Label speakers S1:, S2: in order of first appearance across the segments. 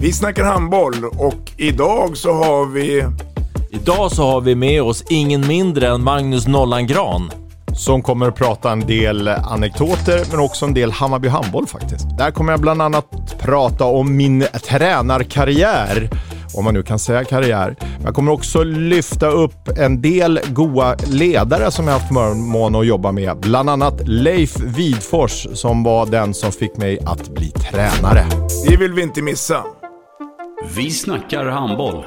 S1: Vi snackar handboll och idag så har vi...
S2: Idag så har vi med oss ingen mindre än Magnus Nollan Gran.
S3: som kommer att prata en del anekdoter men också en del Hammarby handboll faktiskt. Där kommer jag bland annat prata om min tränarkarriär, om man nu kan säga karriär. Jag kommer också lyfta upp en del goa ledare som jag haft förmånen att jobba med, bland annat Leif Vidfors som var den som fick mig att bli tränare.
S1: Det vill vi inte missa.
S4: Vi snackar handboll.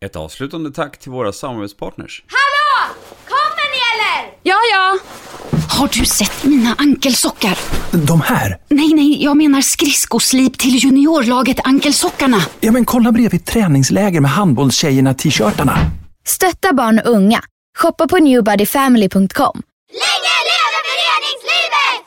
S4: Ett avslutande tack till våra samarbetspartners.
S5: Hallå! Kommer ni eller?
S6: Ja, ja. Har du sett mina ankelsockar?
S7: De här?
S6: Nej, nej, jag menar skridskoslip till juniorlaget Ankelsockarna.
S7: Ja, men kolla bredvid träningsläger med handbollstjejerna-t-shirtarna.
S8: Stötta barn och unga. Shoppa på newbodyfamily.com.
S5: Länge leve föreningslivet!